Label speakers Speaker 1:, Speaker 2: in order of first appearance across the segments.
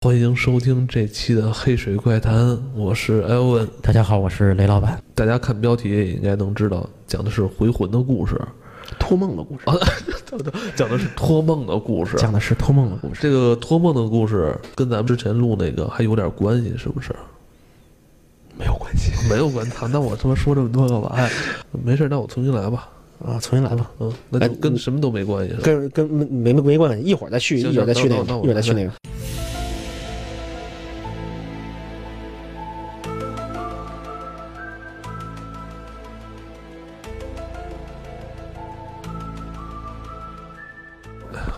Speaker 1: 欢迎收听这期的《黑水怪谈》，我是艾文。
Speaker 2: 大家好，我是雷老板。
Speaker 1: 大家看标题也应该能知道，讲的是回魂的故事，
Speaker 2: 托梦的故事，啊
Speaker 1: 讲的是托梦的故事。
Speaker 2: 讲的是托梦的故事。
Speaker 1: 这个托梦的故事跟咱们之前录那个还有点关系，是不是？
Speaker 2: 没有关系
Speaker 1: 没有关系，那我他妈说这么多干嘛呀？没事，那我重新来吧。
Speaker 2: 啊，重新来吧，
Speaker 1: 嗯，那就
Speaker 2: 哎
Speaker 1: 跟
Speaker 2: 我
Speaker 1: 什么都没关系，是吧？
Speaker 2: 跟跟没没没关系，一会儿再去，
Speaker 1: 行
Speaker 2: 一会儿再去
Speaker 1: 那
Speaker 2: 那
Speaker 1: 那
Speaker 2: 个，
Speaker 1: 那我
Speaker 2: 一会儿再去那个。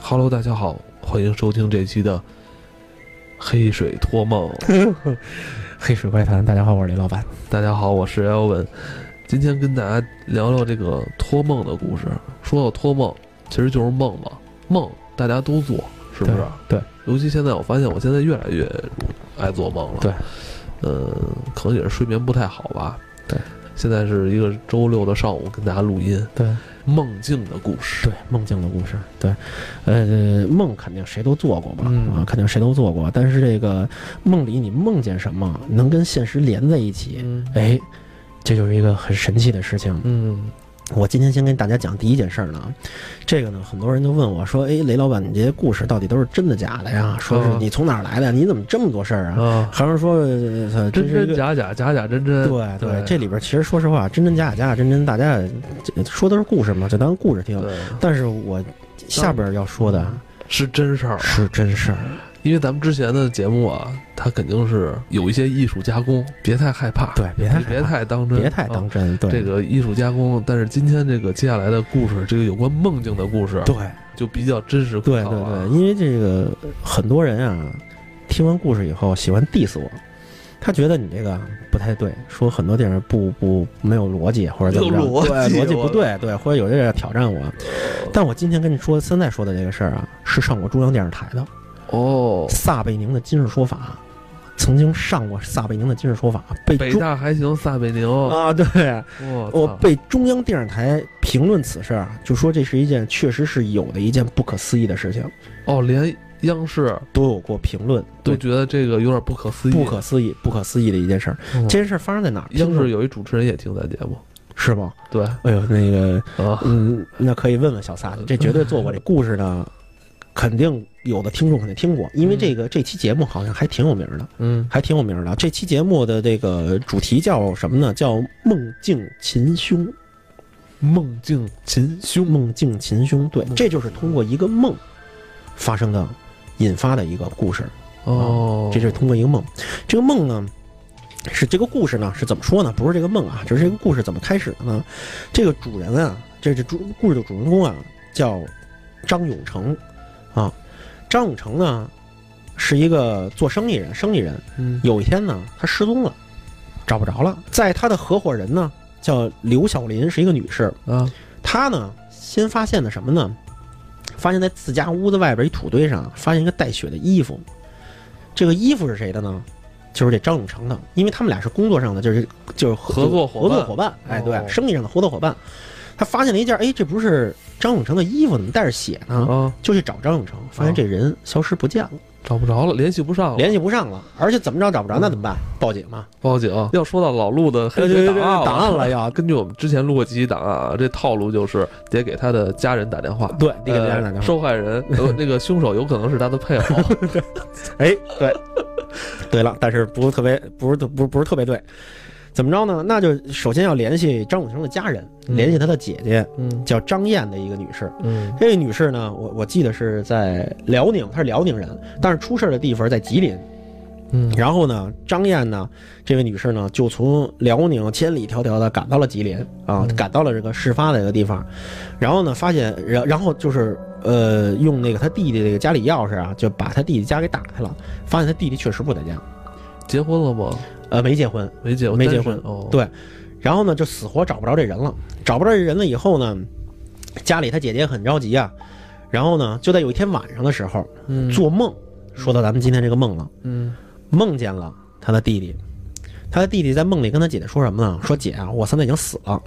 Speaker 1: Hello，大家好，欢迎收听这期的《黑水托梦》。
Speaker 2: 黑水怪谈，大家好，我是雷老板。
Speaker 1: 大家好，我是 Elvin，今天跟大家聊聊这个托梦的故事。说到托梦，其实就是梦嘛，梦大家都做，是不是？
Speaker 2: 对，
Speaker 1: 尤其现在，我发现我现在越来越爱做梦了。
Speaker 2: 对，
Speaker 1: 嗯，可能也是睡眠不太好吧。
Speaker 2: 对，
Speaker 1: 现在是一个周六的上午跟大家录音
Speaker 2: 对
Speaker 1: 梦境的故事。
Speaker 2: 对，梦境的故事，对，呃，梦肯定谁都做过吧，
Speaker 1: 嗯
Speaker 2: 啊，肯定谁都做过。但是这个梦里你梦见什么，能跟现实连在一起，
Speaker 1: 嗯
Speaker 2: 哎，这就是一个很神奇的事情。
Speaker 1: 嗯
Speaker 2: 我今天先跟大家讲第一件事儿呢，这个呢，很多人就问我说：“哎，雷老板，你这些故事到底都是真的假的呀？说是
Speaker 1: 嗯
Speaker 2: 你从哪儿来的呀？你怎么这么多事儿啊？”
Speaker 1: 啊，
Speaker 2: 还有人说：“呃
Speaker 1: 真
Speaker 2: 是一
Speaker 1: 真
Speaker 2: 个
Speaker 1: 假假，假假真真。
Speaker 2: 对
Speaker 1: 对
Speaker 2: 这里边其实说实话，真真假假，假假真真，大家这说的是故事嘛，就当故事听。
Speaker 1: 对，嗯
Speaker 2: 但是我下边要说的
Speaker 1: 是真事儿。
Speaker 2: 是真事儿，
Speaker 1: 因为咱们之前的节目啊，它肯定是有一些艺术加工，别太害怕，
Speaker 2: 对，别太
Speaker 1: 你别
Speaker 2: 害
Speaker 1: 太当
Speaker 2: 怕
Speaker 1: 真，
Speaker 2: 别太
Speaker 1: 啊
Speaker 2: 当真，对
Speaker 1: 这个艺术加工。但是今天这个接下来的故事，这个有关梦境的故事，
Speaker 2: 对
Speaker 1: 就比较真实可
Speaker 2: 对对
Speaker 1: 靠啊
Speaker 2: 对，因为这个很多人啊，听完故事以后喜欢 diss 我。他觉得你这个不太对，说很多地方不不没有逻辑，或者怎么着，
Speaker 1: 没有逻辑
Speaker 2: 对逻辑
Speaker 1: 我
Speaker 2: 不对，对，或者有点挑战我。但我今天跟你说，现在说的这个事儿啊，是上过中央电视台的，
Speaker 1: 哦，
Speaker 2: 撒贝宁的今日说法，曾经上过撒贝宁的今日说法，被
Speaker 1: 北
Speaker 2: 中
Speaker 1: 大还行，撒贝宁，我
Speaker 2: 啊，对，
Speaker 1: 操，
Speaker 2: 我被中央电视台评论此事啊，就说这是一件确实是有的一件不可思议的事情，
Speaker 1: 哦，连央视
Speaker 2: 都有过评论，
Speaker 1: 都
Speaker 2: 对，
Speaker 1: 觉得这个有点不可思议，
Speaker 2: 不可思议，不可思议的一件事儿。
Speaker 1: 嗯。
Speaker 2: 这件事儿发生在哪儿？
Speaker 1: 央
Speaker 2: 听说
Speaker 1: 视有一主持人也听咱节目，
Speaker 2: 是吗？
Speaker 1: 对
Speaker 2: 哎呦，那个，
Speaker 1: 啊，
Speaker 2: 嗯，那可以问问小撒
Speaker 1: 嗯
Speaker 2: 去，这绝对做过。这故事呢，肯定有的听众肯定听过，因为这个这期节目好像还挺有名的。
Speaker 1: 嗯，
Speaker 2: 还挺有名儿的。这期节目的这个主题叫什么呢？叫“梦境琴凶
Speaker 1: 梦境秦”。凶，
Speaker 2: 梦境琴凶，对
Speaker 1: 梦，
Speaker 2: 这就是通过一个梦发生的、引发的一个故事。
Speaker 1: 哦，
Speaker 2: 这就是通过一个梦。这个梦呢，是这个故事呢是怎么说呢？不是这个梦啊，就是这个故事怎么开始的呢？这个主人啊，这是主故事的主人公啊，叫张永成啊。张永成呢是一个做生意人，生意人。
Speaker 1: 嗯
Speaker 2: 有一天呢，他失踪了，找不着了。在他的合伙人呢，叫刘小林，是一个女士。
Speaker 1: 啊，
Speaker 2: 她呢，先发现的什么呢？发现在自家屋子外边一土堆上，发现一个带血的衣服。这个衣服是谁的呢？就是这张永成的，因为他们俩是工作上的，就是就是
Speaker 1: 合作伙
Speaker 2: 合
Speaker 1: 伴
Speaker 2: 作伙伴，哎，对，
Speaker 1: 哦
Speaker 2: 生意上的合作伙伴。他发现了一件，哎，这不是张永成的衣服，怎么带着血呢？
Speaker 1: 啊，
Speaker 2: 就去找张永成，发现这人消失不见了，
Speaker 1: 找不着了，联系不上了，
Speaker 2: 联系不上了，而且怎么着找不着，
Speaker 1: 嗯
Speaker 2: 那怎么办？报警嘛，
Speaker 1: 报警。哎要说到老陆的黑水
Speaker 2: 对对
Speaker 1: 档
Speaker 2: 对，
Speaker 1: 案，啊
Speaker 2: 档案了要。
Speaker 1: 根据我们之前录过几期档案啊，这套路就是得给他的家人打电话，
Speaker 2: 对，你给家人打
Speaker 1: 呃
Speaker 2: 电话。
Speaker 1: 受害 人，呃那个凶手有可能是他的配偶。
Speaker 2: 哎，对，对了，但是不是特别，不是特不是不是特别对。怎么着呢？那就首先要联系张永成的家人，
Speaker 1: 嗯
Speaker 2: 联系他的姐姐，
Speaker 1: 嗯
Speaker 2: 叫张燕的一个女士。
Speaker 1: 嗯
Speaker 2: 这位女士呢，我我记得是在辽宁，她是辽宁人，但是出事儿的地方在吉林。
Speaker 1: 嗯
Speaker 2: 然后呢，张燕呢，这位女士呢，就从辽宁千里迢迢的赶到了吉林啊
Speaker 1: 嗯，
Speaker 2: 赶到了这个事发的这个地方，然后呢，发现，然然后就是呃，用那个他弟弟这个家里钥匙啊，就把他弟弟家给打开了，发现他弟弟确实不在家，
Speaker 1: 结婚了吗？
Speaker 2: 呃，没结婚，
Speaker 1: 没结婚，
Speaker 2: 没结
Speaker 1: 单身
Speaker 2: 婚
Speaker 1: 哦。
Speaker 2: 对然后呢，就死活找不着这人了，找不着这人了以后呢，家里他姐姐很着急啊，然后呢，就在有一天晚上的时候
Speaker 1: 嗯，
Speaker 2: 做梦，说到咱们今天这个梦啊了。
Speaker 1: 嗯
Speaker 2: 梦见了他的弟弟，他的弟弟在梦里跟他姐姐说什么呢？说姐啊，我现在已经死了，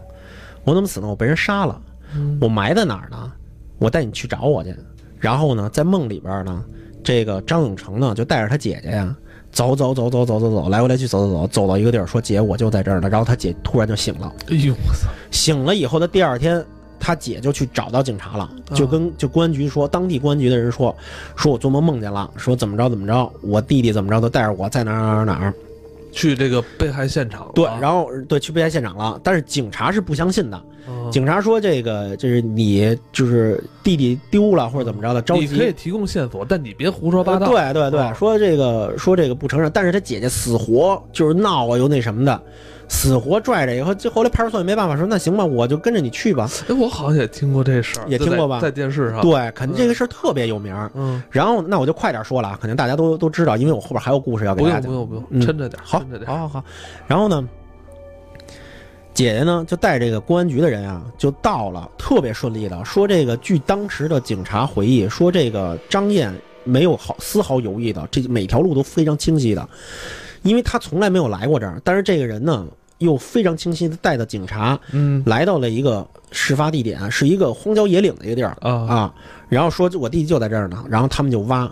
Speaker 2: 我怎么死呢？我被人杀了，
Speaker 1: 嗯
Speaker 2: 我埋在哪儿呢？我带你去找我去。然后呢，在梦里边呢，这个张永成呢就带着他姐姐呀，走走走走走走走，来回来去走走走，走到一个地儿说姐我就在这儿呢，然后他姐突然就醒了，
Speaker 1: 哎呦我操！
Speaker 2: 醒了以后的第二天。他姐就去找到警察了，
Speaker 1: 嗯
Speaker 2: 就跟就公安局说，当地公安局的人说，说我做梦梦见了，说怎么着怎么着，我弟弟怎么着都带着我在哪儿哪儿哪儿哪儿，
Speaker 1: 去这个被害现场了。啊
Speaker 2: 对，然后对去被害现场了，但是警察是不相信的，
Speaker 1: 嗯
Speaker 2: 警察说这个就是你就是弟弟丢了或者怎么着的，着
Speaker 1: 你可以
Speaker 2: 急。呃
Speaker 1: 提供线索，但你别胡说八道。
Speaker 2: 对对对，
Speaker 1: 嗯
Speaker 2: 说这个说这个不承认，但是他姐姐死活就是闹啊，又那什么的，死活拽着。以后就后来派出所也没办法，说那行吧，我就跟着你去吧。
Speaker 1: 哎，我好像也听过这事儿，
Speaker 2: 也
Speaker 1: 就
Speaker 2: 听过
Speaker 1: 在
Speaker 2: 吧
Speaker 1: 在电视上。，
Speaker 2: 对，肯定这个事儿特别有名儿。
Speaker 1: 嗯，
Speaker 2: 然后那我就快点说了啊，肯定大家都都知道，因为我后边还有故事要给
Speaker 1: 不
Speaker 2: 大家
Speaker 1: 用
Speaker 2: 讲
Speaker 1: 不。用不用，
Speaker 2: 嗯
Speaker 1: 抻着点儿，
Speaker 2: 好
Speaker 1: 抻着，点
Speaker 2: 好
Speaker 1: 儿。
Speaker 2: 好好。然后呢，姐姐呢就带这个公安局的人啊，就到了，特别顺利的。说这个，据当时的警察回忆，说这个张燕没有好丝毫犹豫的，这每条路都非常清晰的，因为他从来没有来过这儿。但是这个人呢，又非常清晰的带着警察
Speaker 1: 嗯
Speaker 2: 来到了一个事发地点，是一个荒郊野岭的一个地儿
Speaker 1: 啊
Speaker 2: 啊。然后说我弟弟就在这儿呢，然后他们就挖，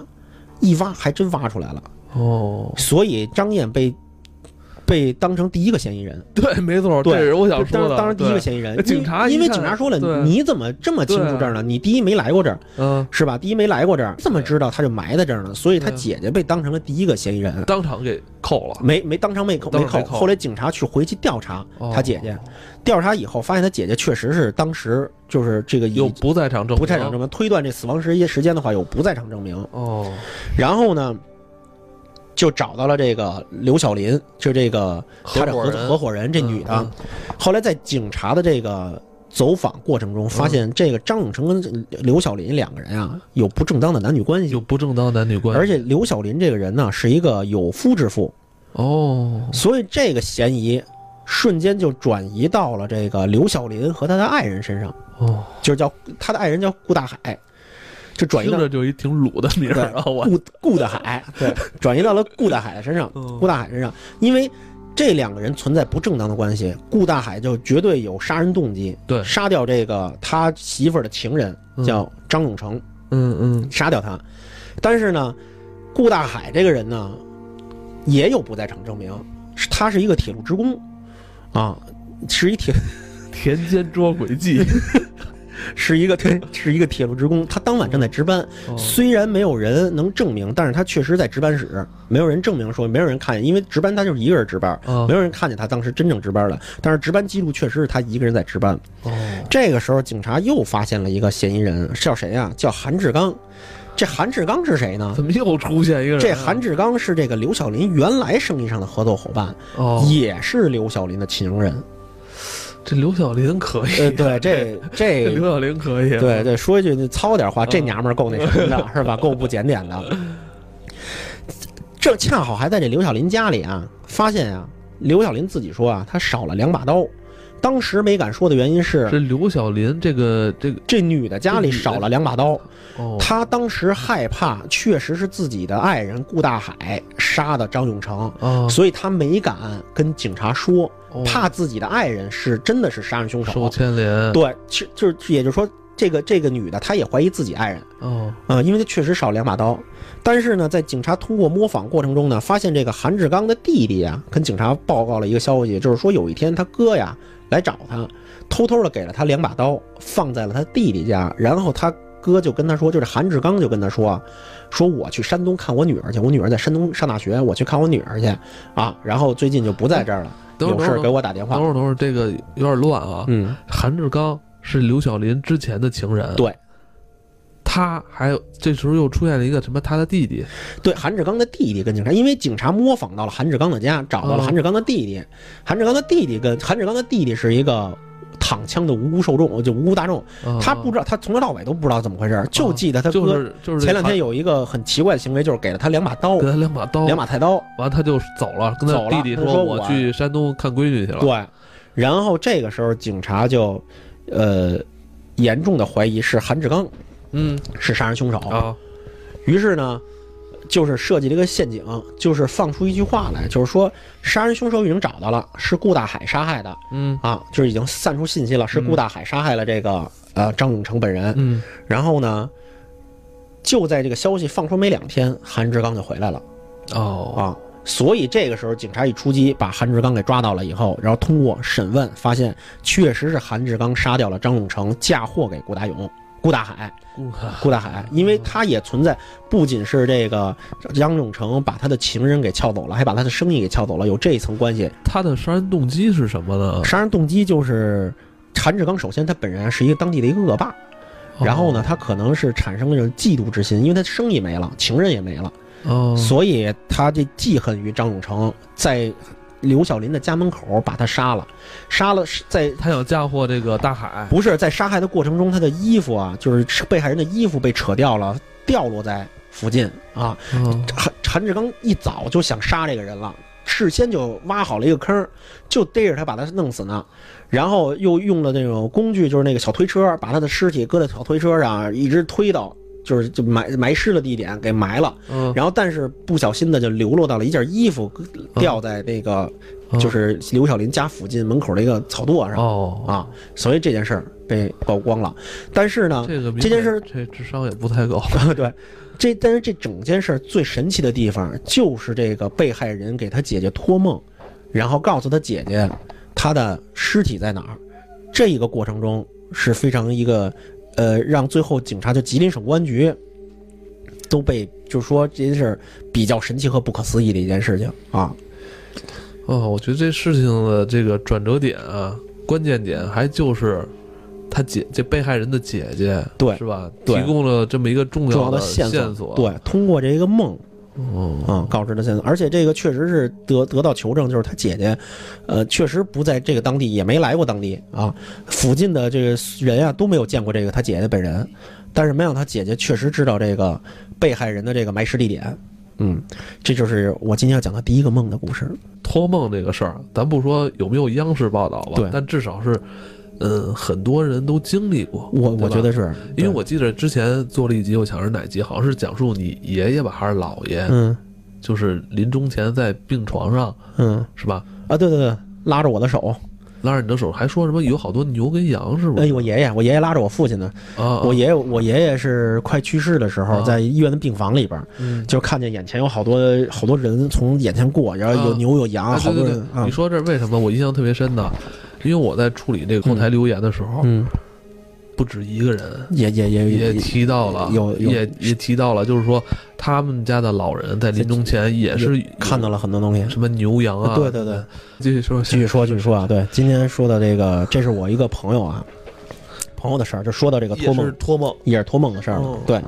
Speaker 2: 一挖还真挖出来了。
Speaker 1: 哦，
Speaker 2: 所以张燕被被当成第一个嫌疑人，
Speaker 1: 对，没错，
Speaker 2: 对
Speaker 1: 这是我想说
Speaker 2: 当
Speaker 1: 的。
Speaker 2: 当然第一个
Speaker 1: 对
Speaker 2: 嫌疑人
Speaker 1: 那，警
Speaker 2: 因
Speaker 1: 察一
Speaker 2: 因为
Speaker 1: 看
Speaker 2: 警察说了，
Speaker 1: 对
Speaker 2: 你怎么这么清楚这儿呢？你第一没来过这儿
Speaker 1: 嗯，
Speaker 2: 是吧？第一没来过这儿，怎么知道他就埋在这儿呢？所以他
Speaker 1: 对
Speaker 2: 姐姐被当成了第一个嫌疑人，
Speaker 1: 当场给扣了。
Speaker 2: 没没当场没扣
Speaker 1: 当
Speaker 2: 没
Speaker 1: 场没
Speaker 2: 扣。
Speaker 1: 扣
Speaker 2: 后来警察去回去调查
Speaker 1: 哦
Speaker 2: 他姐姐，调查以后发现他姐姐确实是当时就是这个
Speaker 1: 有
Speaker 2: 有
Speaker 1: 不在场证明，
Speaker 2: 不在场证明，推断这死亡时间时间的话有不在场证明。
Speaker 1: 哦，
Speaker 2: 然后呢，就找到了这个刘小林，就这个他的
Speaker 1: 合
Speaker 2: 合
Speaker 1: 伙人
Speaker 2: 合伙人这女的。
Speaker 1: 嗯
Speaker 2: 后来在警察的这个走访过程中，发
Speaker 1: 嗯
Speaker 2: 现这个张永成跟刘小林两个人啊有不正当的男女关系
Speaker 1: 有，不正当男女关系，
Speaker 2: 而且刘小林这个人呢是一个有夫之妇，
Speaker 1: 哦，
Speaker 2: 所以这个嫌疑瞬间就转移到了这个刘小林和他的爱人身上，
Speaker 1: 哦，
Speaker 2: 就是叫他的爱人叫顾大海，就转移
Speaker 1: 听
Speaker 2: 到
Speaker 1: 着就一挺鲁的名儿啊，我
Speaker 2: 顾顾大海，对，转移到了顾大海的身上。
Speaker 1: 嗯
Speaker 2: 顾大海身上，因为这两个人存在不正当的关系，顾大海就绝对有杀人动机，
Speaker 1: 对
Speaker 2: 杀掉这个他媳妇儿的情人
Speaker 1: 嗯
Speaker 2: 叫张永成，
Speaker 1: 嗯嗯，
Speaker 2: 杀掉他。但是呢，顾大海这个人呢，也有不在场证明，是他是一个铁路职工，啊，是一铁
Speaker 1: 田间捉鬼记，
Speaker 2: 是一个是一个铁路职工，他当晚正在值班，
Speaker 1: 哦
Speaker 2: 虽然没有人能证明，但是他确实在值班室，没有人证明说，没有人看见，因为值班他就是一个人值班，
Speaker 1: 啊
Speaker 2: 没有人看见他当时真正值班了，但是值班记录确实是他一个人在值班。
Speaker 1: 哦，
Speaker 2: 这个时候，警察又发现了一个嫌疑人，叫谁呀、叫韩志刚。这韩志刚是谁呢？
Speaker 1: 怎么又出现一个人啊？
Speaker 2: 这韩志刚是这个刘小林原来生意上的合作伙伴，
Speaker 1: 哦，
Speaker 2: 也是刘小林的情人。
Speaker 1: 这刘小林可以，
Speaker 2: 呃， 对，这
Speaker 1: 这
Speaker 2: 这
Speaker 1: 刘小林可以，啊
Speaker 2: 对对，说一句那糙点话，这
Speaker 1: 嗯
Speaker 2: 娘们儿够那什 么的，是吧？够不检点的。这恰好还在这刘小林家里啊，发现啊，刘小林自己说啊，他少了两把刀。当时没敢说的原因是，
Speaker 1: 这刘小林这个这个
Speaker 2: 这女的家里
Speaker 1: 这女的
Speaker 2: 少了两把刀，
Speaker 1: 哦，
Speaker 2: 她当时害怕，确实是自己的爱人顾大海杀的张永成，
Speaker 1: 啊，
Speaker 2: 所以她没敢跟警察说，
Speaker 1: 哦
Speaker 2: 怕自己的爱人是真的是杀人凶
Speaker 1: 受
Speaker 2: 手。
Speaker 1: 牵连，
Speaker 2: 对，是就是也就是说，这个这个女的她也怀疑自己爱人。
Speaker 1: 哦
Speaker 2: 啊、因为他确实少两把刀。但是呢，在警察通过摸访过程中呢，发现这个韩志刚的弟弟啊，跟警察报告了一个消息，就是说有一天他哥呀来找他，偷偷的给了他两把刀，放在了他弟弟家。然后他哥就跟他说，就是韩志刚就跟他说，说我去山东看我女儿去，我女儿在山东上大学，我去看我女儿去啊。然后最近就不在这儿了，
Speaker 1: 等会儿
Speaker 2: 有事
Speaker 1: 等
Speaker 2: 儿
Speaker 1: 会
Speaker 2: 给
Speaker 1: 儿
Speaker 2: 我打电
Speaker 1: 等
Speaker 2: 话。
Speaker 1: 会儿等会儿，这个有点乱啊。
Speaker 2: 嗯，
Speaker 1: 韩志刚是刘小林之前的情人，
Speaker 2: 对，
Speaker 1: 他还有这时候又出现了一个什么他的弟弟，
Speaker 2: 对，韩志刚的弟弟跟警察，因为警察模仿到了韩志刚的家，找到了
Speaker 1: 哦
Speaker 2: 韩志刚的弟弟。韩志刚的弟弟跟韩志刚的弟弟是一个躺枪的无辜受众，就无辜大众。
Speaker 1: 啊
Speaker 2: 他不知道，他从头到尾都不知道怎么回事，就记得他
Speaker 1: 哦就
Speaker 2: 哥
Speaker 1: 是就是这
Speaker 2: 前两天
Speaker 1: 韩
Speaker 2: 有一个很奇怪的行为，就是给了他两把刀，
Speaker 1: 给他两把刀，
Speaker 2: 两把菜刀。
Speaker 1: 完他就走了，跟他
Speaker 2: 走了
Speaker 1: 弟弟
Speaker 2: 他说
Speaker 1: 我
Speaker 2: 我
Speaker 1: 去山东看闺女去了。
Speaker 2: 对，然后这个时候警察就，呃，严重的怀疑是韩志刚
Speaker 1: 嗯
Speaker 2: 是杀人凶手。
Speaker 1: 啊
Speaker 2: 于是呢，就是设计了一个陷阱，就是放出一句话来，就是说杀人凶手已经找到了，是顾大海杀害的
Speaker 1: 嗯
Speaker 2: 啊，就是已经散出信息了，是顾大海杀害了这个呃张永成本人。
Speaker 1: 嗯
Speaker 2: 然后呢，就在这个消息放出没两天，韩志刚就回来了
Speaker 1: 哦，
Speaker 2: 啊。所以这个时候，警察一出击，把韩志刚给抓到了以后，然后通过审问发现，确实是韩志刚杀掉了张永成，嫁祸给顾大勇、顾大海。顾大
Speaker 1: 啊
Speaker 2: 海，
Speaker 1: 嗯
Speaker 2: 因为他也存在，不仅是这个张永成把他的情人给撬走了，还把他的生意给撬走了，有这一层关系。
Speaker 1: 他的杀人动机是什么呢？
Speaker 2: 杀人动机就是韩志刚，首先他本人是一个当地的一个恶霸，
Speaker 1: 哦
Speaker 2: 然后呢，他可能是产生了这种嫉妒之心，因为他生意没了，情人也没了，
Speaker 1: 哦，
Speaker 2: 所以他这记恨于张永成，在刘小林的家门口把他杀了，杀了是在
Speaker 1: 他想嫁祸这个大海。
Speaker 2: 不是在杀害的过程中，他的衣服啊，就是被害人的衣服被扯掉了，掉落在附近啊。
Speaker 1: 嗯
Speaker 2: 韩韩志刚一早就想杀这个人了，事先就挖好了一个坑，就逮着他把他弄死呢。然后又用了那种工具，就是那个小推车，把他的尸体搁在小推车上，一直推到就是就埋埋尸的地点给埋了。
Speaker 1: 嗯，
Speaker 2: 然后但是不小心的就流落到了一件衣服
Speaker 1: 哦
Speaker 2: 掉在那个
Speaker 1: 嗯
Speaker 2: 就是刘小林家附近门口的一个草垛上
Speaker 1: 哦，
Speaker 2: 啊，所以这件事儿被曝光了。但是呢，
Speaker 1: 哦这个明
Speaker 2: 这件事儿
Speaker 1: 显这智商也不太高。
Speaker 2: 对，这但是这整件事儿最神奇的地方就是这个被害人给他姐姐托梦，然后告诉他姐姐他的尸体在哪儿。这一个过程中是非常一个，呃，让最后警察就吉林省公安局都被就是说这件事儿比较神奇和不可思议的一件事情啊。
Speaker 1: 哦，我觉得这事情的这个转折点啊，关键点还就是他姐这被害人的姐姐，
Speaker 2: 对
Speaker 1: 是吧？
Speaker 2: 对
Speaker 1: 提供了这么一个重
Speaker 2: 重要
Speaker 1: 的
Speaker 2: 线
Speaker 1: 索。
Speaker 2: 对，通过这个梦
Speaker 1: 哦，
Speaker 2: 啊、告知的线索，而且这个确实是得得到求证，就是他姐姐，呃，确实不在这个当地，也没来过当地啊，附近的这个人啊都没有见过这个他姐姐本人，但是没想到他姐姐确实知道这个被害人的这个埋尸地点，嗯，这就是我今天要讲的第一个梦的故事，
Speaker 1: 托梦这个事儿，咱不说有没有央视报道吧，
Speaker 2: 对
Speaker 1: 但至少是，嗯，很多人都经历过。
Speaker 2: 我
Speaker 1: 对吧
Speaker 2: 我觉得是，
Speaker 1: 因为
Speaker 2: 对
Speaker 1: 我记得之前做了一集，我想是哪集，好像是讲述你爷爷吧，还是姥爷，
Speaker 2: 嗯
Speaker 1: 就是临终前在病床上，
Speaker 2: 嗯
Speaker 1: 是吧？
Speaker 2: 啊，对对对，拉着我的手，
Speaker 1: 拉着你的手，还说什么有好多牛跟羊，是不
Speaker 2: 哎
Speaker 1: 是？
Speaker 2: 我爷爷，我爷爷拉着我父亲呢，
Speaker 1: 啊，
Speaker 2: 我爷爷我爷爷是快去世的时候，
Speaker 1: 啊
Speaker 2: 在医院的病房里边。
Speaker 1: 嗯
Speaker 2: 就看见眼前有好多好多人从眼前过，然后有
Speaker 1: 啊
Speaker 2: 牛有羊，
Speaker 1: 啊，
Speaker 2: 好
Speaker 1: 对
Speaker 2: 多
Speaker 1: 对
Speaker 2: 人
Speaker 1: 对，
Speaker 2: 啊
Speaker 1: 你，说这为什么我印象特别深呢？因为我在处理这个后台留言的时候，
Speaker 2: 嗯，
Speaker 1: 不止一个人
Speaker 2: 也也也
Speaker 1: 也提到了，
Speaker 2: 有有
Speaker 1: 也也提到了，就是说他们家的老人在临终前也是有
Speaker 2: 看到了很多东西。
Speaker 1: 什么牛羊啊，
Speaker 2: 对对对，
Speaker 1: 继续说，
Speaker 2: 继续说，继续说啊，对，今天说的这个，这是我一个朋友啊，朋友的事儿，就说到这个托
Speaker 1: 也是
Speaker 2: 梦，
Speaker 1: 托梦，
Speaker 2: 也是托梦的事儿了
Speaker 1: 哦。
Speaker 2: 对，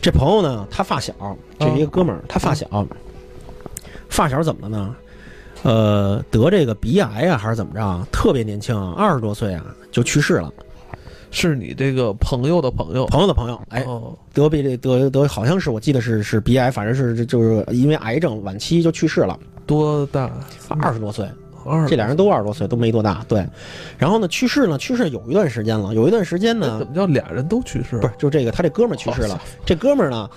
Speaker 2: 这朋友呢，他发小，
Speaker 1: 嗯
Speaker 2: 这是一个哥们儿，他发小，发小怎么了呢？呃，得这个鼻癌啊，还是怎么着啊？特别年轻啊，二十多岁啊就去世了。
Speaker 1: 是你这个朋友的朋友，
Speaker 2: 朋友的朋友，哎，
Speaker 1: 哦
Speaker 2: 得鼻这得得好像是我记得是是鼻癌，反正是就是因为癌症晚期就去世了，
Speaker 1: 多大？
Speaker 2: 二十多岁，
Speaker 1: 二
Speaker 2: 这俩人都二十多岁，都没多大。对，然后呢，去世呢，去世有一段时间了，有一段时间
Speaker 1: 那
Speaker 2: 呢
Speaker 1: 怎，么叫俩人都去世？
Speaker 2: 不是就这个他这哥们儿去世了，这哥们儿呢，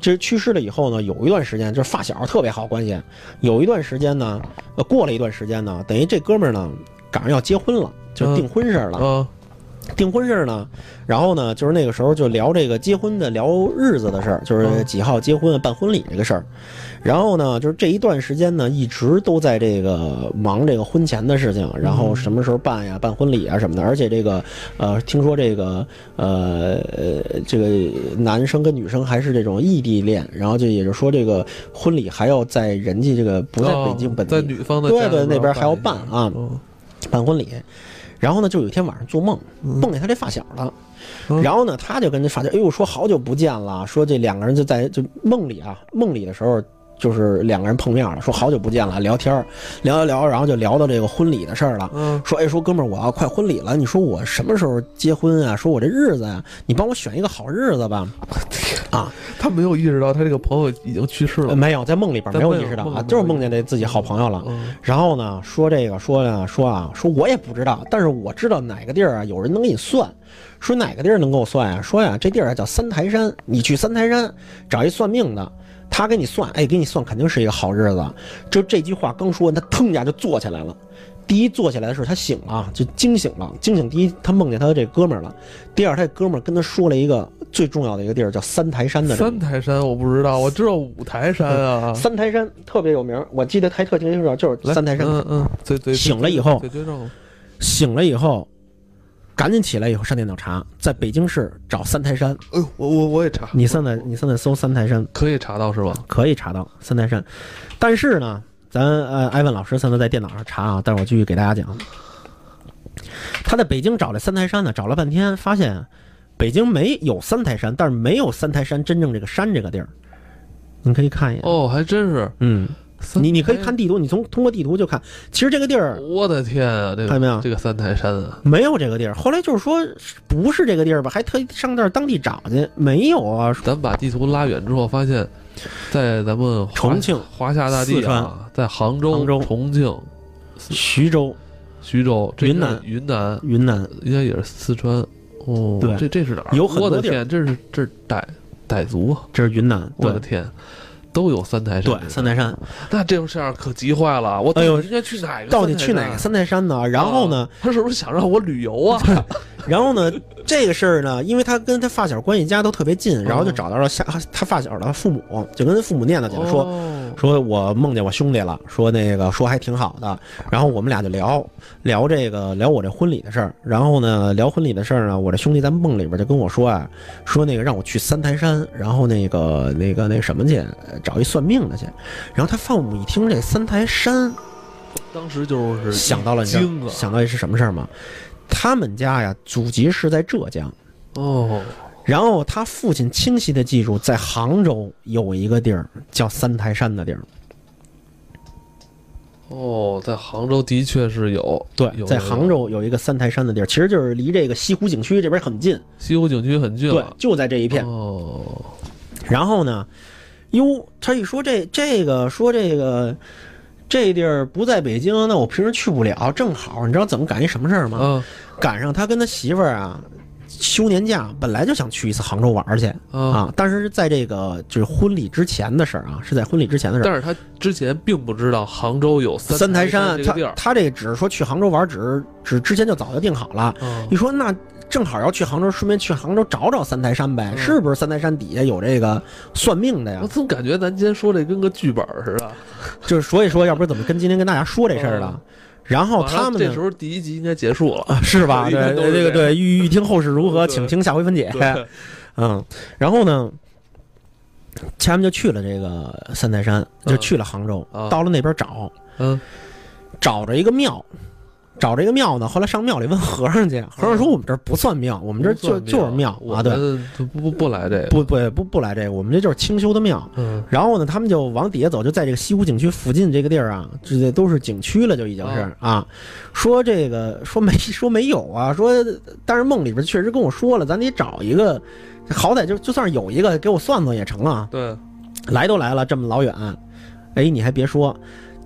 Speaker 2: 这去世了以后呢，有一段时间就是发小特别好关系，有一段时间呢，呃，过了一段时间呢，等于这哥们儿呢赶上要结婚了，就
Speaker 1: 嗯
Speaker 2: 订婚事儿了，
Speaker 1: 啊，
Speaker 2: 订婚事儿呢，然后呢，就是那个时候就聊这个结婚的聊日子的事儿，就是
Speaker 1: 嗯
Speaker 2: 几号结婚办婚礼这个事儿。然后呢，就是这一段时间呢，一直都在这个忙这个婚前的事情，然后什么时候办呀，办婚礼啊什么的。而且这个呃，听说这个呃呃这个男生跟女生还是这种异地恋，然后就也就是说这个婚礼还要在人家这个不在北京
Speaker 1: 哦
Speaker 2: 本
Speaker 1: 在
Speaker 2: 地，
Speaker 1: 女方的
Speaker 2: 对
Speaker 1: 家
Speaker 2: 对
Speaker 1: 里
Speaker 2: 那
Speaker 1: 边
Speaker 2: 边还要
Speaker 1: 一
Speaker 2: 办
Speaker 1: 下
Speaker 2: 啊
Speaker 1: 哦
Speaker 2: 办婚礼。然后呢，就有一天晚上做梦，
Speaker 1: 嗯
Speaker 2: 梦见他这发小了。
Speaker 1: 嗯
Speaker 2: 然后呢，他就跟这发小，哎呦，说好久不见了，说这两个人就在就梦里啊，梦里的时候就是两个人碰面了，说好久不见了，聊天儿聊聊聊，然后就聊到这个婚礼的事儿了。
Speaker 1: 嗯，
Speaker 2: 说，哎，说哥们儿，我要快婚礼了，你说我什么时候结婚啊？说我这日子呀、你帮我选一个好日子吧。
Speaker 1: 他没有意识到他这个朋友已经去世
Speaker 2: 呃
Speaker 1: 了。
Speaker 2: 没有，在梦里边
Speaker 1: 在
Speaker 2: 没有
Speaker 1: 梦
Speaker 2: 意识到
Speaker 1: 梦里没
Speaker 2: 啊，
Speaker 1: 有
Speaker 2: 就
Speaker 1: 意
Speaker 2: 是
Speaker 1: 识
Speaker 2: 梦见这自己好朋友了。
Speaker 1: 嗯
Speaker 2: 然后呢，说这个说呢说啊说我也不知道，但是我知道哪个地儿啊有人能给你算，说哪个地儿能给我算呀、说呀、这地儿啊叫三台山，你去三台山找一算命的，他给你算，哎，给你算肯定是一个好日子。就这句话刚说完，他腾一下就坐起来了。第一坐起来的时候，他醒了，就惊醒了。惊醒第一，他梦见他这哥们儿了；第二，他这哥们儿跟他说了一个最重要的一个地儿叫三台山的这么一
Speaker 1: 三
Speaker 2: 个
Speaker 1: 台山我不知道，我知道五台山啊。
Speaker 2: 三台山特别有名，我记得还特清楚，就是
Speaker 1: 来
Speaker 2: 三台山。
Speaker 1: 嗯嗯，嘴嘴
Speaker 2: 醒了以后
Speaker 1: 嘴对症了。
Speaker 2: 醒了以后，赶紧起来以后上电脑查，在北京市找三台山，
Speaker 1: 哎呦，我我我也查，
Speaker 2: 你上在你上在搜三台山
Speaker 1: 可以查到是吧？
Speaker 2: 可以查到三台山，但是呢，咱呃艾文老师现在在电脑上查啊，但是我继续给大家讲，他在北京找这三台山呢，找了半天发现北京没有三台山，但是没有三台山真正这个山这个地儿，你可以看一眼，
Speaker 1: 哦，还真是。
Speaker 2: 嗯，
Speaker 1: 三
Speaker 2: 你你可以看地图，你从通过地图就看，其实这个地儿
Speaker 1: 我的天啊，这个
Speaker 2: 看见没有
Speaker 1: 这个三台山啊，
Speaker 2: 没有这个地儿。后来就是说不是这个地儿吧，还特意上那儿当地找去，没有啊。
Speaker 1: 咱把地图拉远之后，发现，在咱们华
Speaker 2: 重庆、
Speaker 1: 华夏大地
Speaker 2: 四
Speaker 1: 啊
Speaker 2: 川，
Speaker 1: 在杭州、
Speaker 2: 杭州
Speaker 1: 重庆、
Speaker 2: 徐州、
Speaker 1: 徐州、这应该
Speaker 2: 云南
Speaker 1: 是云南
Speaker 2: 云南
Speaker 1: 应该也是四川。哦，
Speaker 2: 对
Speaker 1: 这这是哪儿？
Speaker 2: 有很多
Speaker 1: 我的
Speaker 2: 地儿
Speaker 1: 天，这是这是傣傣族啊，
Speaker 2: 这是云南，
Speaker 1: 我
Speaker 2: 对
Speaker 1: 的天，都有三台山。
Speaker 2: 对，三台山。
Speaker 1: 那这样可急坏了，我到
Speaker 2: 哎呦
Speaker 1: 底应该去哪个？
Speaker 2: 到底去哪个
Speaker 1: 个？
Speaker 2: 三台山啊哦呢？然后呢，
Speaker 1: 啊哦他是不是想让我旅游啊？
Speaker 2: 然后呢，这个事儿呢，因为他跟他发小关系家都特别近，然后就找到了下他发小的父母，就跟父母念叨去了，说
Speaker 1: 哦
Speaker 2: 说我梦见我兄弟了，说那个说还挺好的，然后我们俩就聊聊这个聊我这婚礼的事儿，然后呢聊婚礼的事儿呢，我这兄弟在梦里边就跟我说啊，说那个让我去三台山，然后那个那个那什么去呃找一算命的去，然后他父母一听这三台山，
Speaker 1: 当时就是
Speaker 2: 想到了你知道
Speaker 1: 惊啊了。
Speaker 2: 想到这是什么事儿吗？他们家呀祖籍是在浙江，
Speaker 1: 哦，
Speaker 2: 然后他父亲清晰的记住，在杭州有一个地儿叫三台山的地儿。
Speaker 1: 哦，在杭州的确是有，
Speaker 2: 对
Speaker 1: 有，
Speaker 2: 在
Speaker 1: 有有
Speaker 2: 杭州有一个三台山的地儿，其实就是离这个西湖景区这边很近，
Speaker 1: 西湖景区很近
Speaker 2: 对
Speaker 1: 了，。
Speaker 2: 就在这一片。
Speaker 1: 哦，
Speaker 2: 然后呢，哟，他一说这这个说这个这地儿不在北京，那我平时去不了，正好你知道怎么赶一什么事儿吗？
Speaker 1: 啊
Speaker 2: 赶上他跟他媳妇儿啊休年假，本来就想去一次杭州玩儿去
Speaker 1: 啊！
Speaker 2: 啊，但是在这个就是婚礼之前的事儿啊，是在婚礼之前的事儿。
Speaker 1: 但是他之前并不知道杭州有
Speaker 2: 三台
Speaker 1: 台
Speaker 2: 山，啊
Speaker 1: 这
Speaker 2: 他
Speaker 1: 个地儿。
Speaker 2: 他这个只是说去杭州玩儿，只是只之前就早就定好了。
Speaker 1: 哦
Speaker 2: 你说那正好要去杭州，顺便去杭州找找三台山呗，
Speaker 1: 嗯
Speaker 2: 是不是？三台山底下有这个算命的呀
Speaker 1: 我，怎么感觉咱今天说这跟个剧本似的？
Speaker 2: 就是所以说，要不然怎么跟今天跟大家说这事儿了？然后哦
Speaker 1: 嗯
Speaker 2: 他
Speaker 1: 完了
Speaker 2: 们
Speaker 1: 这时
Speaker 2: 呢？
Speaker 1: 候第一集应该结束了。
Speaker 2: 啊，是吧？
Speaker 1: 一般
Speaker 2: 对
Speaker 1: 都是这
Speaker 2: 这个
Speaker 1: 样
Speaker 2: 对，欲欲听后事如 何，
Speaker 1: 对
Speaker 2: 请听下回分解。
Speaker 1: 对，
Speaker 2: 嗯，然后呢，他们就去了这个三台山，就
Speaker 1: 嗯
Speaker 2: 去了杭州，
Speaker 1: 啊
Speaker 2: 到了那边找，
Speaker 1: 嗯，
Speaker 2: 找着一个庙，找着一个庙呢。后来上庙里问和尚去，和尚说
Speaker 1: 嗯
Speaker 2: 我们这儿不算庙，我
Speaker 1: 我
Speaker 2: 们这儿就就是庙
Speaker 1: 我
Speaker 2: 啊。对，
Speaker 1: 们不不不来这个。
Speaker 2: 不不不不来这个，我们这就是清修的庙。
Speaker 1: 嗯，
Speaker 2: 然后呢，他们就往底下走，就在这个西湖景区附近这个地儿啊，这这都是景区了，就已经是
Speaker 1: 哦
Speaker 2: 啊。说这个说没说没有啊，说但是梦里边确实跟我说了，咱得找一个，好歹就就算是有一个给我算算也成啊。
Speaker 1: 对，
Speaker 2: 来都来了，这么老远，哎，你还别说，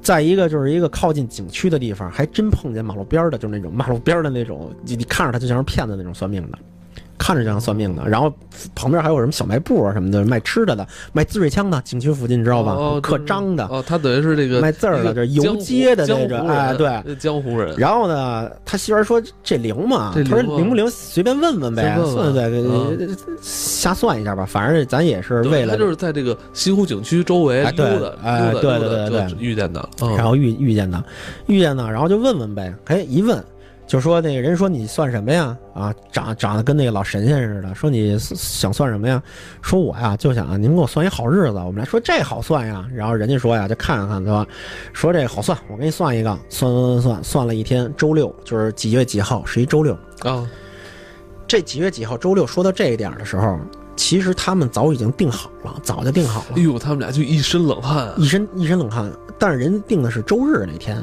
Speaker 2: 再一个就是一个靠近景区的地方，还真碰见马路边儿的，就是那种马路边儿的那种，你你看着他就像是骗子那种算命的，看着就像算命的。然后旁边还有什么小卖部啊什么的，卖吃的的，卖滋水枪的，景区附近你知道吧？
Speaker 1: 哦
Speaker 2: 刻
Speaker 1: 就是
Speaker 2: 章的，
Speaker 1: 哦，他等于是这个
Speaker 2: 卖字儿的，
Speaker 1: 一
Speaker 2: 这
Speaker 1: 个
Speaker 2: 游
Speaker 1: 江湖
Speaker 2: 街的
Speaker 1: 江
Speaker 2: 那
Speaker 1: 湖
Speaker 2: 种，
Speaker 1: 人
Speaker 2: 哎，对。
Speaker 1: 这江湖人。
Speaker 2: 然后呢，他媳妇儿说这灵嘛，
Speaker 1: 这
Speaker 2: 他说
Speaker 1: 灵啊
Speaker 2: 灵不灵随便问问呗，
Speaker 1: 随便
Speaker 2: 算
Speaker 1: 问
Speaker 2: 算
Speaker 1: 问
Speaker 2: 呗，瞎算一下吧，反正咱也是
Speaker 1: 对
Speaker 2: 为了
Speaker 1: 他就是在这个西湖景区周围
Speaker 2: 哎
Speaker 1: 溜
Speaker 2: 对
Speaker 1: 达
Speaker 2: 哎
Speaker 1: 溜达
Speaker 2: 对
Speaker 1: 溜达
Speaker 2: 对对
Speaker 1: 就
Speaker 2: 对
Speaker 1: 遇见的。嗯
Speaker 2: 然后遇遇见他，遇见他，然后就问问呗。哎，一问就说那个人说你算什么呀？啊，长长得跟那个老神仙似的。说你想算什么呀？说我呀就想啊您给我算一好日子。我们俩说这好算呀。然后人家说呀就看看说说这好算，我给你算一个，算算算算了一天，周六就是几月几号是一周六。
Speaker 1: 啊，
Speaker 2: 这几月几号周六说到这一点儿的时候，其实他们早已经定好了，早就定好了
Speaker 1: 哎。呦，他们俩就一身冷汗啊。
Speaker 2: 一身一身冷汗。但是人家定的是周日那天，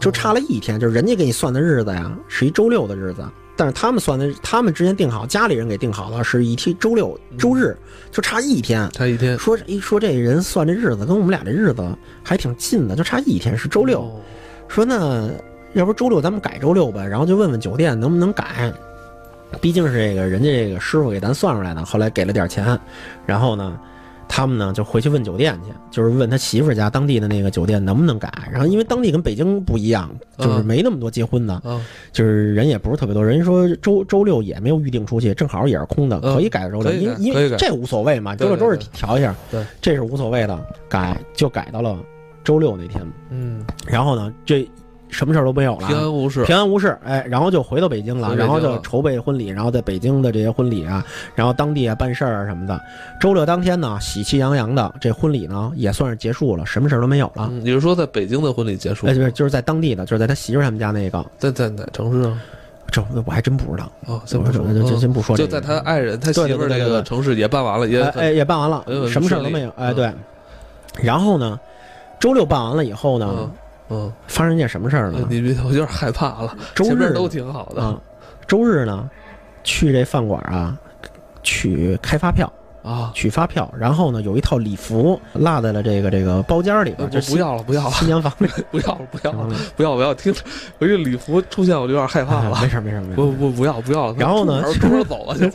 Speaker 2: 就差了一天，就是人家给你算的日子呀，是一周六的日子。但是他们算的，他们之前定好，家里人给定好了，是一天周六周日，就差一天。
Speaker 1: 差一天，
Speaker 2: 说一说这人算这日子跟我们俩这日子还挺近的，就差一天是周六。
Speaker 1: 哦
Speaker 2: 说那要不周六咱们改周六吧，然后就问问酒店能不能改，毕竟是这个人家这个师傅给咱算出来的，后来给了点钱，然后呢，他们呢就回去问酒店去，就是问他媳妇儿家当地的那个酒店能不能改。然后因为当地跟北京不一样，就是
Speaker 1: 嗯
Speaker 2: 没那么多结婚的，
Speaker 1: 啊，
Speaker 2: 就是人也不是特别多。人说周周六也没有预定出去，正好也是空的，
Speaker 1: 嗯
Speaker 2: 可以改周六，
Speaker 1: 可以
Speaker 2: 因为
Speaker 1: 改
Speaker 2: 因
Speaker 1: 可以
Speaker 2: 为
Speaker 1: 改
Speaker 2: 这无所谓嘛，周
Speaker 1: 对
Speaker 2: 六
Speaker 1: 对
Speaker 2: 周日
Speaker 1: 对
Speaker 2: 调一下，
Speaker 1: 对
Speaker 2: 这是无所谓的，改就改到了周六那天。
Speaker 1: 嗯，
Speaker 2: 然后呢，这什么事儿都没有了，
Speaker 1: 平安无事，
Speaker 2: 平安无事，哎，然后就回到北京了，
Speaker 1: 回北
Speaker 2: 然
Speaker 1: 京
Speaker 2: 后就
Speaker 1: 了
Speaker 2: 筹备婚礼，然后在北京的这些婚礼啊，然后当地啊办事儿啊什么的。周六当天呢，喜气洋洋的，这婚礼呢也算是结束了，什么事儿都没有了。
Speaker 1: 嗯，你是说在北京的婚礼结束
Speaker 2: 哎，，就是就是在当地的，就是在他媳妇儿他们家那个，
Speaker 1: 在在哪城市啊？
Speaker 2: 这我还真不知道，
Speaker 1: 啊，
Speaker 2: 这
Speaker 1: 先不说，
Speaker 2: 这这
Speaker 1: 嗯
Speaker 2: 真不说这
Speaker 1: 就
Speaker 2: 个。
Speaker 1: 在他爱人他
Speaker 2: 对对
Speaker 1: 媳妇儿
Speaker 2: 对对
Speaker 1: 那
Speaker 2: 对
Speaker 1: 个
Speaker 2: 对
Speaker 1: 城市也办完了，也
Speaker 2: 哎哎也办完了
Speaker 1: 也，很
Speaker 2: 什么事儿都
Speaker 1: 顺利
Speaker 2: 没有，哎
Speaker 1: 呃嗯
Speaker 2: 对。然后呢，周六办完了以后呢
Speaker 1: 嗯，嗯，
Speaker 2: 发生一件什么事儿呢？
Speaker 1: 你别，我有点害怕了。
Speaker 2: 周
Speaker 1: 前
Speaker 2: 日
Speaker 1: 面
Speaker 2: 呢
Speaker 1: 都挺好的
Speaker 2: 啊，周日呢，去这饭馆啊，取开发票。
Speaker 1: 啊，
Speaker 2: 取发票，然后呢，有一套礼服落在了这个啊这个包间里
Speaker 1: 呃
Speaker 2: 边，
Speaker 1: 不
Speaker 2: 就是
Speaker 1: 不要了，不要了，
Speaker 2: 新娘房里，
Speaker 1: 不要了，不要了，
Speaker 2: 了，
Speaker 1: 不要，不要，听着，我这礼服出现我就有点害怕 了。
Speaker 2: 哎没事儿没事儿没事
Speaker 1: 不
Speaker 2: 儿，
Speaker 1: 不不要不要了。
Speaker 2: 然后呢
Speaker 1: 出门出门走了就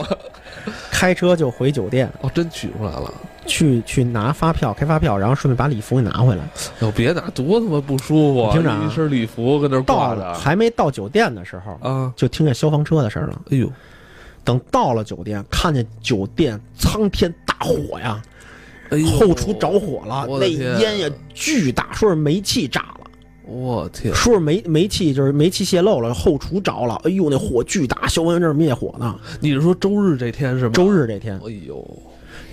Speaker 2: 开车就回酒店
Speaker 1: 哦，真取出来了。
Speaker 2: 去去拿发票开发票，然后顺便把礼服给拿回来。
Speaker 1: 哟，别拿，多他妈不舒服啊！
Speaker 2: 你听着啊
Speaker 1: 一身礼服跟那儿
Speaker 2: 到
Speaker 1: 挂着
Speaker 2: 了还没到酒店的时候，
Speaker 1: 啊，
Speaker 2: 就听见消防车的事儿了。
Speaker 1: 哎呦，
Speaker 2: 等到了酒店，看见酒店苍天大火呀，
Speaker 1: 哎呦，
Speaker 2: 后厨着，火了，
Speaker 1: 我
Speaker 2: 那
Speaker 1: 的天
Speaker 2: 烟也巨大，说是煤气炸了。
Speaker 1: 我天，
Speaker 2: 说是煤煤气就是煤气泄漏了，后厨着了，哎呦那火巨大，消防员正灭火呢。
Speaker 1: 你是说周日这天是吗？
Speaker 2: 周，日这天，
Speaker 1: 哎呦，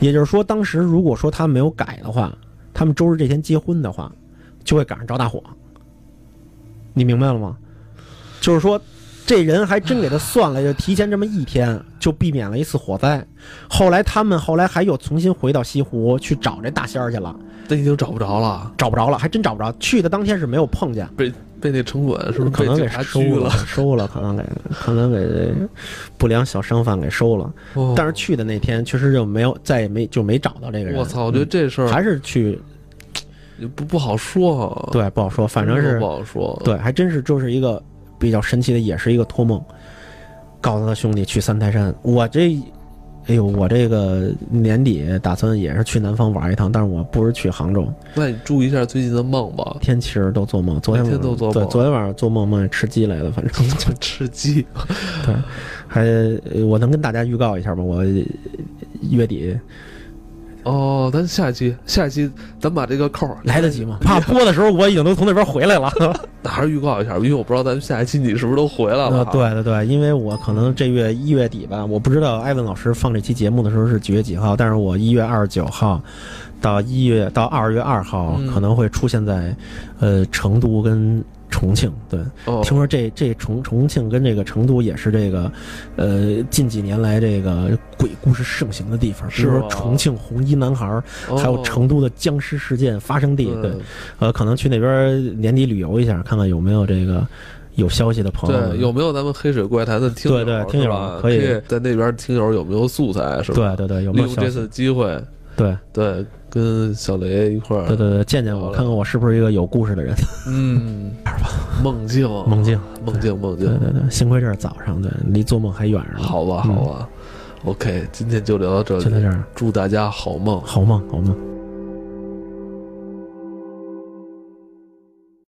Speaker 2: 也就是说，当时如果说他没有改的话，他们周日这天结婚的话，就会赶上着大火。你明白了吗？就是说，这人还真给他算了，就提前这么一天，就避免了一次火灾。后来他们后来还又重新回到西湖去找这大仙儿去了，
Speaker 1: 这已经找不着了，
Speaker 2: 找不着了，还真找不着。去的当天是没有碰见，
Speaker 1: 被被那城管是不是
Speaker 2: 可
Speaker 1: 被
Speaker 2: 能
Speaker 1: 警
Speaker 2: 给
Speaker 1: 察
Speaker 2: 收
Speaker 1: 拘
Speaker 2: 了，？ 收了，可能给可能给不良小商贩给收了。
Speaker 1: 哦
Speaker 2: 但是去的那天确实就没有，再也没就没找到这个人。嗯
Speaker 1: 我操，我觉得这事儿
Speaker 2: 还是去
Speaker 1: 不不好说啊，
Speaker 2: 对，不好说，反正是
Speaker 1: 不好说。
Speaker 2: 对，还真是就是一个比较神奇的，也是一个托梦，告诉他兄弟去三台山。我这，哎呦，我这个年底打算也是去南方玩一趟，但是我不是去杭州，
Speaker 1: 那你注意一下最近的梦吧，
Speaker 2: 天其实都做梦，昨天
Speaker 1: 每
Speaker 2: 晚
Speaker 1: 天都做
Speaker 2: 对，
Speaker 1: 梦
Speaker 2: 昨天晚上做梦梦见吃鸡来了，反正
Speaker 1: 就吃鸡。
Speaker 2: 还呃我能跟大家预告一下吗？我呃月底
Speaker 1: 哦，咱下期下期咱把这个扣儿
Speaker 2: 来得及吗？怕播的时候我已经都从那边回来了。
Speaker 1: 还是预告一下，因为我不知道咱们下一期你是不是都回来了
Speaker 2: 呃
Speaker 1: 啊。，
Speaker 2: 对对对，因为我可能这月一月底吧，我不知道艾文老师放这期节目的时候是几月几号，但是我一月二十九号到一月到二月二号
Speaker 1: 嗯
Speaker 2: 可能会出现在、呃成都跟重庆。对，
Speaker 1: 哦，
Speaker 2: 听说这这重重庆跟这个成都也是这个呃近几年来这个鬼故事盛行的地方，比
Speaker 1: 是
Speaker 2: 如说
Speaker 1: 吗
Speaker 2: 重庆红衣男孩儿，
Speaker 1: 哦
Speaker 2: 还有成都的僵尸事件发生地。对，呃，可能去那边儿年底旅游一下，看看有没有这个。有消息的朋友们，
Speaker 1: 对，有没有咱们黑水怪谈的听友？
Speaker 2: 嗯对对
Speaker 1: 是吧
Speaker 2: 听友可以
Speaker 1: 在那边听友有没有素材？是吧？
Speaker 2: 对对对，有
Speaker 1: 利
Speaker 2: 没有
Speaker 1: 用
Speaker 2: 消
Speaker 1: 这
Speaker 2: 息？
Speaker 1: 次机会，
Speaker 2: 对
Speaker 1: 对，跟小雷一块儿，
Speaker 2: 对对对，见见我，
Speaker 1: 好嘞
Speaker 2: 看看我是不是一个有故事的人。
Speaker 1: 嗯，梦境，
Speaker 2: 梦境，
Speaker 1: 梦境，梦
Speaker 2: 对
Speaker 1: 境，
Speaker 2: 对对，幸亏这是早上，对，离做梦还远着呢。，
Speaker 1: 好吧，好吧。OK，今天就聊到这
Speaker 2: 嗯就在
Speaker 1: 里，
Speaker 2: 这儿，
Speaker 1: 祝大家好梦。
Speaker 2: 好梦，好梦。